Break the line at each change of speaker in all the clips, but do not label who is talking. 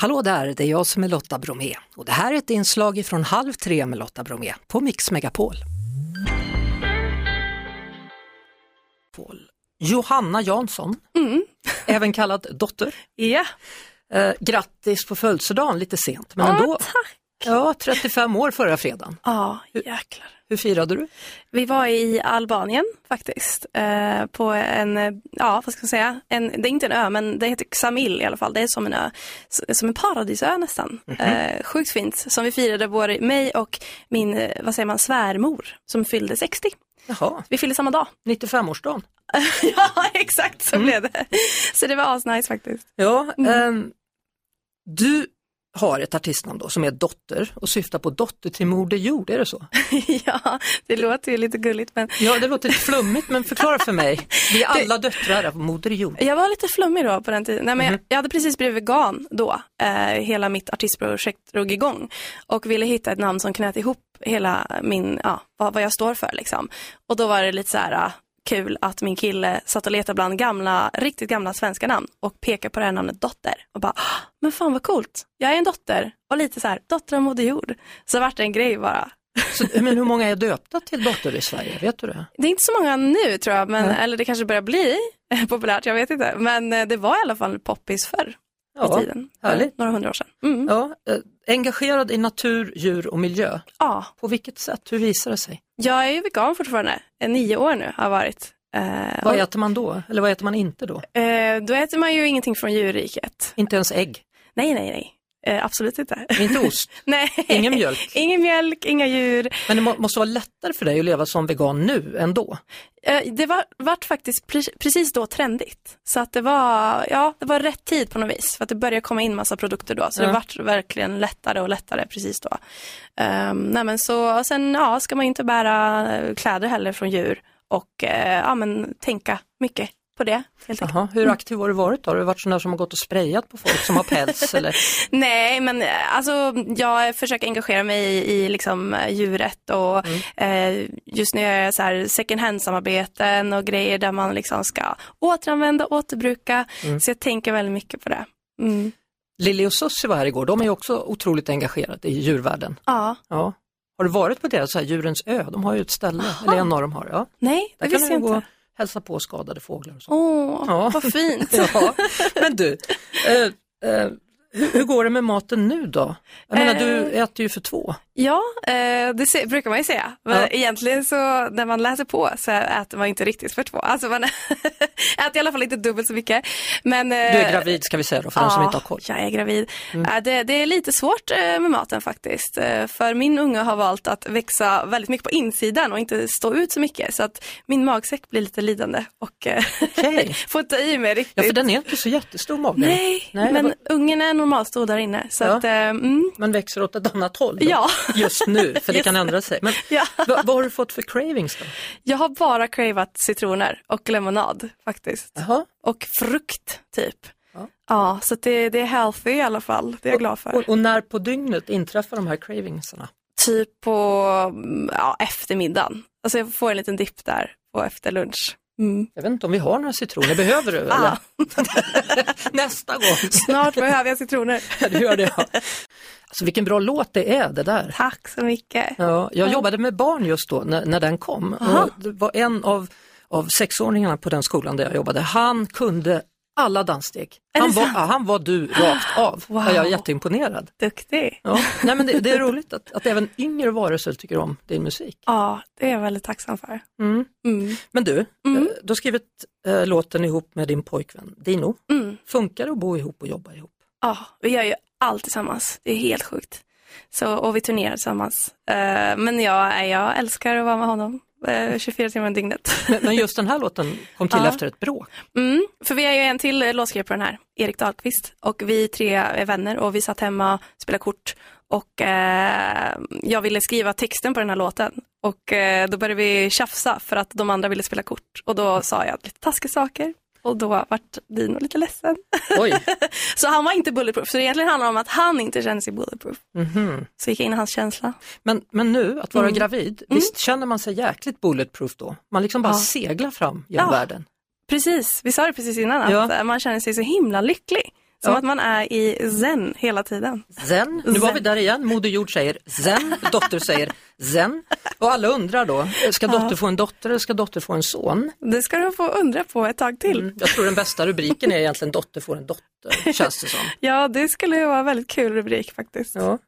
Hallå där, det är jag som är Lotta Bromé och det här är ett inslag från Halv tre med Lotta Bromé på Mix Megapol. Pol. Johanna Jansson,
Mm.
även kallad Dotter.
Ja,
Eh, grattis på födelsedagen lite sent, men
Ja,
ändå.
tack.
Ja, 35 år förra fredagen.
Ja, jäklar.
Hur firade du?
Vi var i Albanien faktiskt, eh, på en, eh, ja vad ska man säga, en, det är inte en ö men det heter Xamil i alla fall, det är som en ö, s- som en paradisö nästan. Eh, sjukt fint, som vi firade både mig och min, eh, vad säger man, svärmor som fyllde 60.
Jaha,
Vi fyllde samma dag.
95-årsdagen.
ja, exakt så blev det. Så det var asnice faktiskt.
Ja, ehm, du har ett artistnamn då som är Dotter och syftar på dotter till Moder Jord, är det så?
ja, det låter ju lite gulligt men
Ja, det låter flummigt men förklara för mig. Vi är alla döttrar av Moder Jord.
Jag var lite flummig då på den tiden. Nej, men jag, jag hade precis blivit vegan då. Eh, hela mitt artistprojekt drog igång och ville hitta ett namn som knöt ihop hela min, ja, vad, vad jag står för liksom. Och då var det lite så här ah, kul att min kille satt och letade bland gamla, riktigt gamla svenska namn och pekade på det här namnet Dotter och bara, "Ah, men fan vad coolt, jag är en dotter och lite så här, dotter av Moder Jord. Så vart det en grej bara.
Så, men hur många är döpta till Dotter i Sverige? Vet du det?
Det är inte så många nu tror jag, men, eller det kanske börjar bli populärt, jag vet inte. Men eh, det var i alla fall poppis förr i tiden. för
härligt.
Några hundra år sedan. Mm.
Ja, eh, engagerad i natur, djur och miljö.
Ja,
På vilket sätt? Hur visar det sig?
jag är ju vegan fortfarande. Eh, Nio år nu har jag varit. Eh,
Vad äter man då? Eller vad äter man inte då?
och, eh, då äter man ju ingenting från djurriket.
Inte ens ägg,
Nej, nej, nej. Eh, absolut inte.
inte ost,
nej.
ingen mjölk.
Ingen mjölk, inga djur.
Men det må- måste vara lättare för dig att leva som vegan nu än då.
Eh, Det var, vart faktiskt pre- precis då trendigt. Så att det var, ja, det var rätt tid på något vis. För att det började komma in massa produkter då. Så
Ja.
det vart verkligen lättare och lättare precis då. Um, nej men så, och sen ja, ska man inte bära eh, kläder heller från djur. Och eh, ja, men tänka mycket på det. Helt enkelt.
Jaha, hur aktiv har du varit då? Har du varit sån där som har gått och sprayat på folk som har päls? Eller?
Nej, men eh, alltså, jag försöker engagera mig i, i liksom, eh, djuret och
Mm.
eh, just nu gör jag så här second hand-samarbeten och grejer där man liksom ska återanvända, återbruka.
Mm.
Så jag tänker väldigt mycket på det. Mm.
Lili och Susie var här igår, de är ju också otroligt engagerade i djurvärlden.
Ja,
Ja. Har du varit på deras så här djurens ö? De har ju ett ställe, eller en av dem har. Ja.
nej, det
Där kan
visste
du
jag
gå och
inte.
hälsa på skadade fåglar och så.
Åh,
Ja.
vad fint.
Ja. Men du, eh, eh, hur, hur går det med maten nu då? Jag menar, du
Eh.
äter ju för två.
Ja, eh, det se- brukar man ju säga. Men
Ja.
egentligen så när man läser på så äter man inte riktigt för två. Alltså man äter i alla fall inte dubbelt så mycket. Men, eh,
Du är gravid ska vi säga då, för den som inte har koll. Mm.
jag är gravid. Eh, Det, det är lite svårt eh, med maten faktiskt. Eh, För min unge har valt att växa väldigt mycket på insidan och inte stå ut så mycket. Så att min magsäck blir lite lidande och eh,
Okej.
får inte i mig riktigt.
Ja, för den är inte så jättestor magen.
Nej,
Nej,
men
vad-
ungen är normalstor där inne. Så
Ja.
att, eh, mm,
Men växer åt ett annat håll då,
Ja.
just nu, för det
Just
kan ändra sig. Men
Ja.
vad, vad har du fått för cravings då?
jag har bara cravat citroner och lemonad faktiskt.
Jaha.
Och frukt typ.
Ja.
Ja, så att det, det är healthy i alla fall. Det är jag glad för.
Och, och när på dygnet inträffar de här cravingsarna?
typ på mm, ja, eftermiddagen. Alltså jag får en liten dipp där på efter lunch. Mm.
Jag vet inte om vi har några citroner, behöver du? Eller?
Ah,
Nästa gång,
snart behöver jag citroner.
du gör det. Ja. Alltså vilken bra låt det är det där.
Tack så mycket.
Ja, jag jobbade med barn just då när, när den kom. Och det var en av, av sexåringarna på den skolan där jag jobbade, han kunde alla danssteg.
Är
Han
det
var, ja,
sant?
han var du rakt av.
Wow.
Ja, Jag är jätteimponerad.
Duktig.
Ja. Nej, men det, det är roligt att, att även yngre varelser tycker om din musik.
Ja, det är jag väldigt tacksam för.
Mm.
Mm.
Men du, eh, du har skrivit eh, låten ihop med din pojkvän Dino.
Mm.
Funkar det att bo ihop och jobba ihop?
Ja, vi gör ju allt tillsammans. Det är helt sjukt. Så, och vi turnerar tillsammans. Eh, men jag, jag älskar att vara med honom eh, 24 timmar om dygnet.
Men, men just den här låten kom till
Ja.
efter ett bråk.
Mm, för vi är ju en till eh, låtskrivare på den här, Erik Dahlqvist. Och vi tre är vänner och vi satt hemma och spelade kort. Och eh, jag ville skriva texten på den här låten. Och eh, då började vi tjafsa för att de andra ville spela kort. Och då sa jag lite taskiga saker. Och då vart Dino lite ledsen.
Oj,
Så han var inte bulletproof. Så det egentligen handlar om att han inte kände sig bulletproof.
mhm.
Så gick jag in i hans känsla.
men, men nu att vara
Mm.
gravid, visst känner man sig jäkligt bulletproof då? Man liksom bara
Ja.
seglar fram genom
Ja.
världen.
Precis, vi sa det precis innan att
Ja.
eh, man känner sig så himla lycklig. Som att man är i zen hela tiden.
Zen, nu var vi där igen, Moder Jord säger zen, dotter säger zen. Och alla undrar då, ska dotter få en dotter eller ska dotter få en son?
Det ska du få undra på ett tag till.
Jag tror den bästa rubriken är egentligen dotter får en dotter, känns det som.
Ja, det skulle ju vara en väldigt kul rubrik faktiskt.
Ja.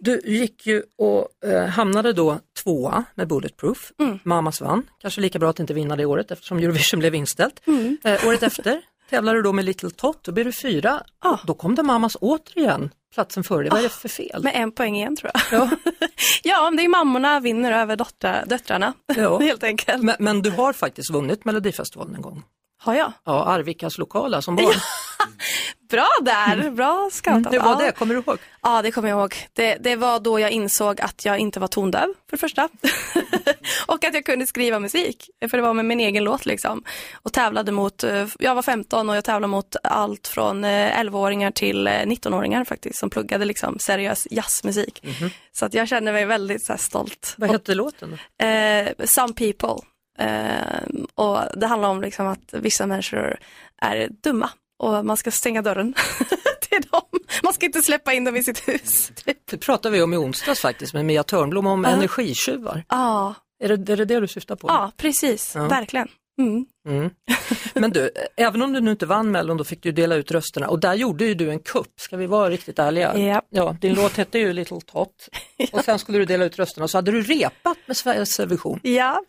Du gick ju och eh, hamnade då tvåa med Bulletproof, Mamas vann, kanske lika bra att inte vinna det året eftersom Eurovision blev inställt. Eh, året efter tävlade du då med Little Tot, då blev du fyra,
Ja.
då kom det Mamas återigen, platsen före, vad är det för fel?
Med en poäng igen tror jag. Ja, ja men det är mammorna vinner över dotter, döttrarna
Ja.
helt enkelt.
Men, men du har faktiskt vunnit Melodifestivalen en gång.
Har jag?
Ja, Arvikas lokala som barn.
Bra där, bra scoutat.
Hur Mm. var
Ja.
det? Kommer du ihåg?
Ja, det kommer jag ihåg. Det, det var då jag insåg att jag inte var tondöv, för det första. och att jag kunde skriva musik, för det var med min egen låt liksom. Och tävlade mot, eh, jag var 15 och jag tävlade mot allt från eh, 11-åringar till eh, 19-åringar faktiskt, som pluggade liksom seriös jazzmusik. Så att jag kände mig väldigt så här, stolt.
Vad hette låten?
Eh, some people. Eh, och det handlar om liksom att vissa människor är dumma och man ska stänga dörren till dem. Man ska inte släppa in dem i sitt hus. Typ.
Det pratade vi om i onsdags faktiskt med Mia Törnblom om energitjuvar.
Ja,
Är det, är det det du syftar på?
ja, precis,
Ja.
verkligen. Mm.
Mm. Men du, eh, även om du nu inte vann Mellon då fick du dela ut rösterna och där gjorde ju du en kupp, ska vi vara riktigt ärliga?
Ja.
Ja, din låt hette ju Little Tot och sen skulle du dela ut rösterna och så hade du repat med Sveriges Television.
Ja,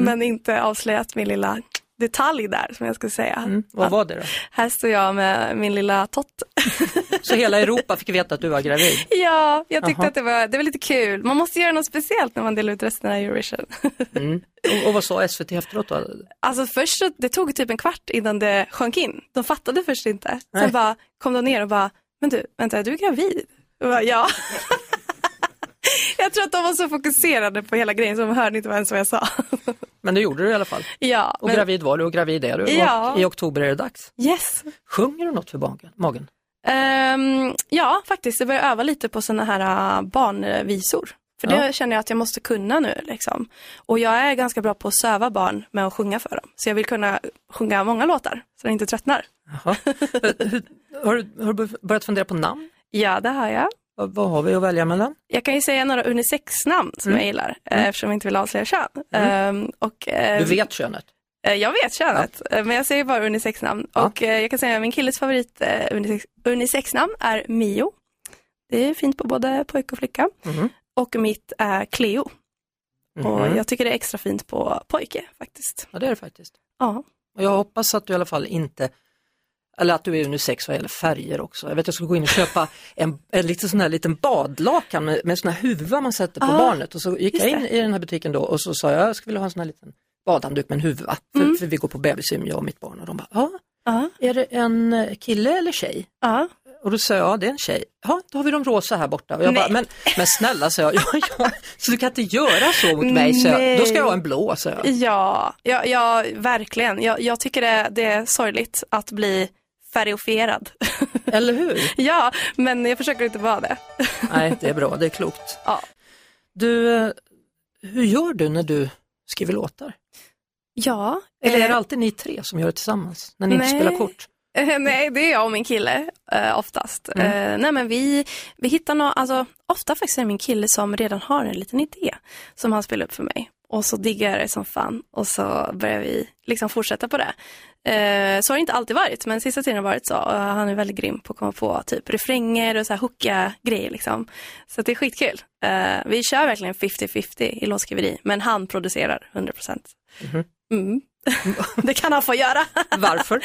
men inte avslöjat min lilla detalj där som jag skulle säga.
Mm. Vad
Att
var det då?
Här står jag med min lilla tott.
Så hela Europa fick veta att du var gravid.
Ja, jag tyckte
Jaha.
att det var, det var lite kul. Man måste göra något speciellt när man delar ut resten av Eurovision.
Mm. Och, och vad sa SVT efteråt då?
Alltså först så, det tog typ en kvart innan det sjönk in. De fattade först inte. Sen
Nej.
bara kom de ner och bara, men du, vänta, är du gravid? Och bara, ja. jag tror att de var så fokuserade på hela grejen så de hörde inte ens vad jag sa.
Men det gjorde du i alla fall.
ja,
Och
men
gravid var du och gravid är du
Ja.
och i oktober är det dags.
yes.
Sjunger du något för magen? magen?
Ehm, ja, faktiskt, jag började öva lite på sådana här äh, barnvisor. För det känner jag att jag måste kunna nu. Liksom. Och jag är ganska bra på att söva barn med att sjunga för dem. Så jag vill kunna sjunga många låtar så de inte tröttnar.
Jaha. Eh, hur- har, du, har du börjat fundera på namn?
Ja, det har jag.
Vad, vad har vi att välja mellan?
Jag kan ju säga några unisex-namn som
Mm.
jag gillar eh, eftersom jag inte vill avslöja kön. Ehm, och, eh,
Du vet könet.
eh, Jag vet könet, eh, men jag säger bara unisex-namn.
Ja.
Och eh, jag kan säga att min killes favorit eh, unisex- unisex-namn är Mio. Det är fint på både pojke och flicka.
Mhm.
Och mitt är Cleo.
Mhm.
Och jag tycker det är extra fint på pojke faktiskt.
Ja, det är det faktiskt.
Ja,
Och jag hoppas att du i alla fall inte eller att du är unisex vad gäller färger också. Jag vet jag skulle gå in och köpa en, en liten sån här liten badlakan med, med sån här huva man sätter på
Ah,
barnet. Och så gick
just
jag in i den här butiken då och så sa jag, jag skulle vilja ha en sån här liten badhandduk med en huva. För,
Mm.
för vi går på bebisgym, jag och mitt barn. Och de bara, ja,
ja,
är det en eh, kille eller tjej?
ja.
Och då sa jag, ja det är en tjej. Ja, då har vi de rosa här borta. Och jag
Nej.
bara, men, men snälla, sa jag, ja, ja, så du kan inte göra så mot mig, sa jag. Då ska jag ha en blå, sa
Mm.
jag.
ja, ja, ja verkligen. Jag, jag tycker det, det är sorgligt att bli färgofierad.
Eller hur?
ja, men jag försöker inte vara det.
Nej, det är bra, det är klokt.
Ja.
Du, eh, hur gör du när du skriver låtar?
Ja,
Eller är
eh,
det alltid ni tre som gör det tillsammans, när ni inte
nej.
spelar kort?
Eh, Nej, det är jag och min kille eh, oftast. Eh, nej, men vi, vi hittar nå alltså, ofta faktiskt är det min kille som redan har en liten idé som han spelar upp för mig. Och så diggar jag det som fan och så börjar vi liksom fortsätta på det. Eh, så har det inte alltid varit, men sista tiden har det varit så. Och han är väldigt grym på att komma på typ refränger och så här hooka grejer liksom. Så att det är skitkul. Eh, vi kör verkligen 50-50 i låtskriveri, men han producerar 100%. Mm. det kan han få göra.
Varför?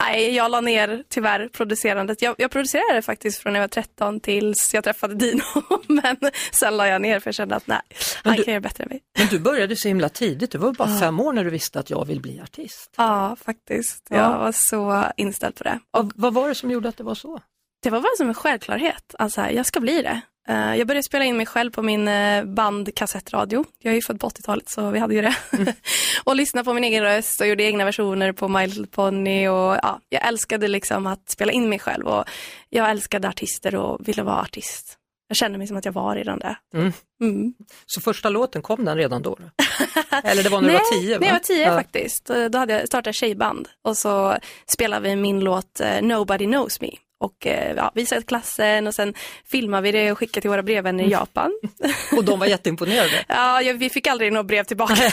Nej, jag la ner tyvärr producerandet. Jag, jag producerade faktiskt från när jag var 13 tills jag träffade Dino. Men sen la jag ner för jag kände att nej, han
du-
kan göra bättre än mig.
Men du började så himla tidigt, du var bara fem år när du visste att jag vill bli artist.
Ja, faktiskt. Jag
Ja.
var så inställd på det.
Vad, vad var det som gjorde att det var så?
Det var bara som en självklarhet. Alltså, jag ska bli det. Eh, Jag började spela in mig själv på min eh, bandkassettradio. Jag är ju född på 80-talet så vi hade ju det. och lyssnade på min egen röst och gjorde egna versioner på My Little Pony. Och, ja, jag älskade liksom att spela in mig själv och jag älskade artister och ville vara artist. Jag kände mig som att jag var redan det.
Mm.
Mm.
Så första låten, kom den redan då? då? Eller det var när du var tio? va?
Nej, jag var tio
Ja.
faktiskt. Då hade jag startat tjejband och så spelade vi min låt eh, Nobody knows me. och eh, ja, visade klassen och sen filmade vi det och skickade till våra brevvänner
Mm.
i Japan.
Och de var jätteimponerade.
Ja, jag- vi fick aldrig något brev tillbaka.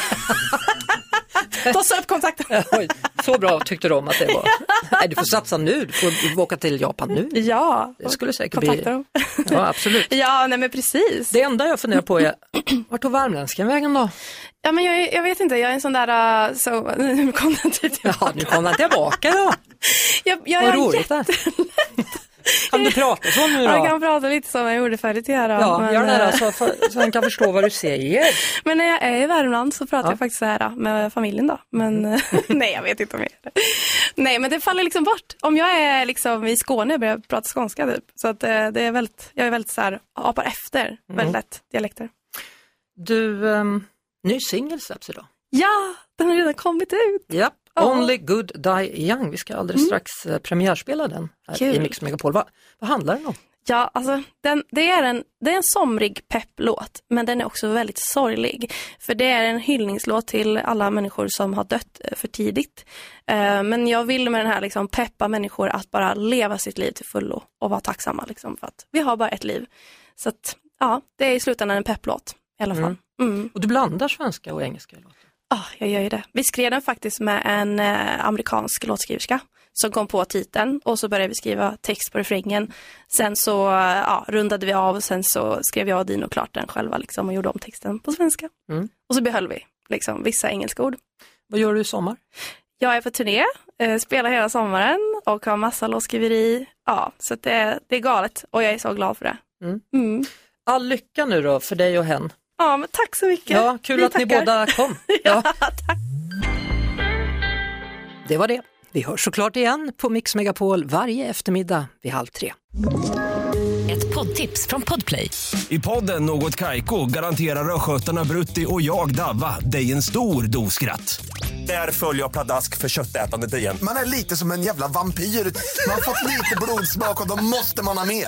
De sa upp kontakten.
Oj, så bra tyckte de att det var. Nej, du får satsa nu, du får åka till Japan nu.
Ja,
Det skulle säkert bli...
kontakta dem.
Ja, absolut.
Ja, nej men precis.
Det enda jag funderar på är, vart tog värmländskan vägen då?
Ja, men jag, är- jag vet inte, jag är en sån där, uh, så, nu kom den typ
Ja, nu kom den tillbaka då.
Jag, jag,
Vad
jag, är
roligt. Jättelätt. Kan du prata så nu
Jag
då?
kan prata lite som jag gjorde förut här. då,
Ja,
men,
gör det alltså. här
eh,
så, för, så han kan förstå vad du säger.
men när jag är i Värmland så pratar jag faktiskt så här då, med familjen då. Men eh, nej, jag vet inte om jag gör det. Nej, men det faller liksom bort. Om jag är liksom i Skåne och börjar prata skånska typ. Så att eh, det är väldigt, jag är väldigt så här, apar efter väldigt lätt dialekter.
Du, ehm, ny singel släpps idag.
Ja, den har redan kommit ut.
Japp.
Ja. Mm.
Only Good Die Young, vi ska alldeles strax eh, premiärspela den här i
Kul.
Mix Megapol. Vad, vad handlar den om?
Ja, alltså den, det, är en, det är en somrig pepplåt, men den är också väldigt sorglig. För det är en hyllningslåt till alla människor som har dött eh, för tidigt. Eh, men jag vill med den här liksom peppa människor att bara leva sitt liv till fullo och vara tacksamma liksom, för att vi har bara ett liv. Så att, ja, det är i slutändan en pepplåt i alla fall. Mm.
Och du blandar svenska och engelska i låten.
Ja, Ah, jag gör ju det. Vi skrev den faktiskt med en eh, amerikansk låtskriverska som kom på titeln och så började vi skriva text på refrängen. Sen så eh, ja, rundade vi av och sen så skrev jag och Dino klart den själva liksom, och gjorde om texten på svenska.
Mm.
Och så behöll vi liksom, vissa engelska ord.
Vad gör du i sommar?
Jag är på turné, eh, spelar hela sommaren och har massa låtskriveri. Ja, så att det, det är galet och jag är så glad för det.
Mm.
Mm.
All lycka nu då för dig och hen.
Ja, men tack så mycket.
Ja, kul
Vi
att ni
tackar.
båda kom. Ja. Det var det. Vi hörs såklart igen på Mix Megapol varje eftermiddag vid halv tre.
Ett poddtips från Podplay.
I podden Något Kaiko garanterar östgötarna Brutti och jag, Davva, dig en stor dos skratt. Där följer jag pladask för köttätandet igen.
Man är lite som en jävla vampyr. Man har fått lite blodsmak och då måste man ha mer.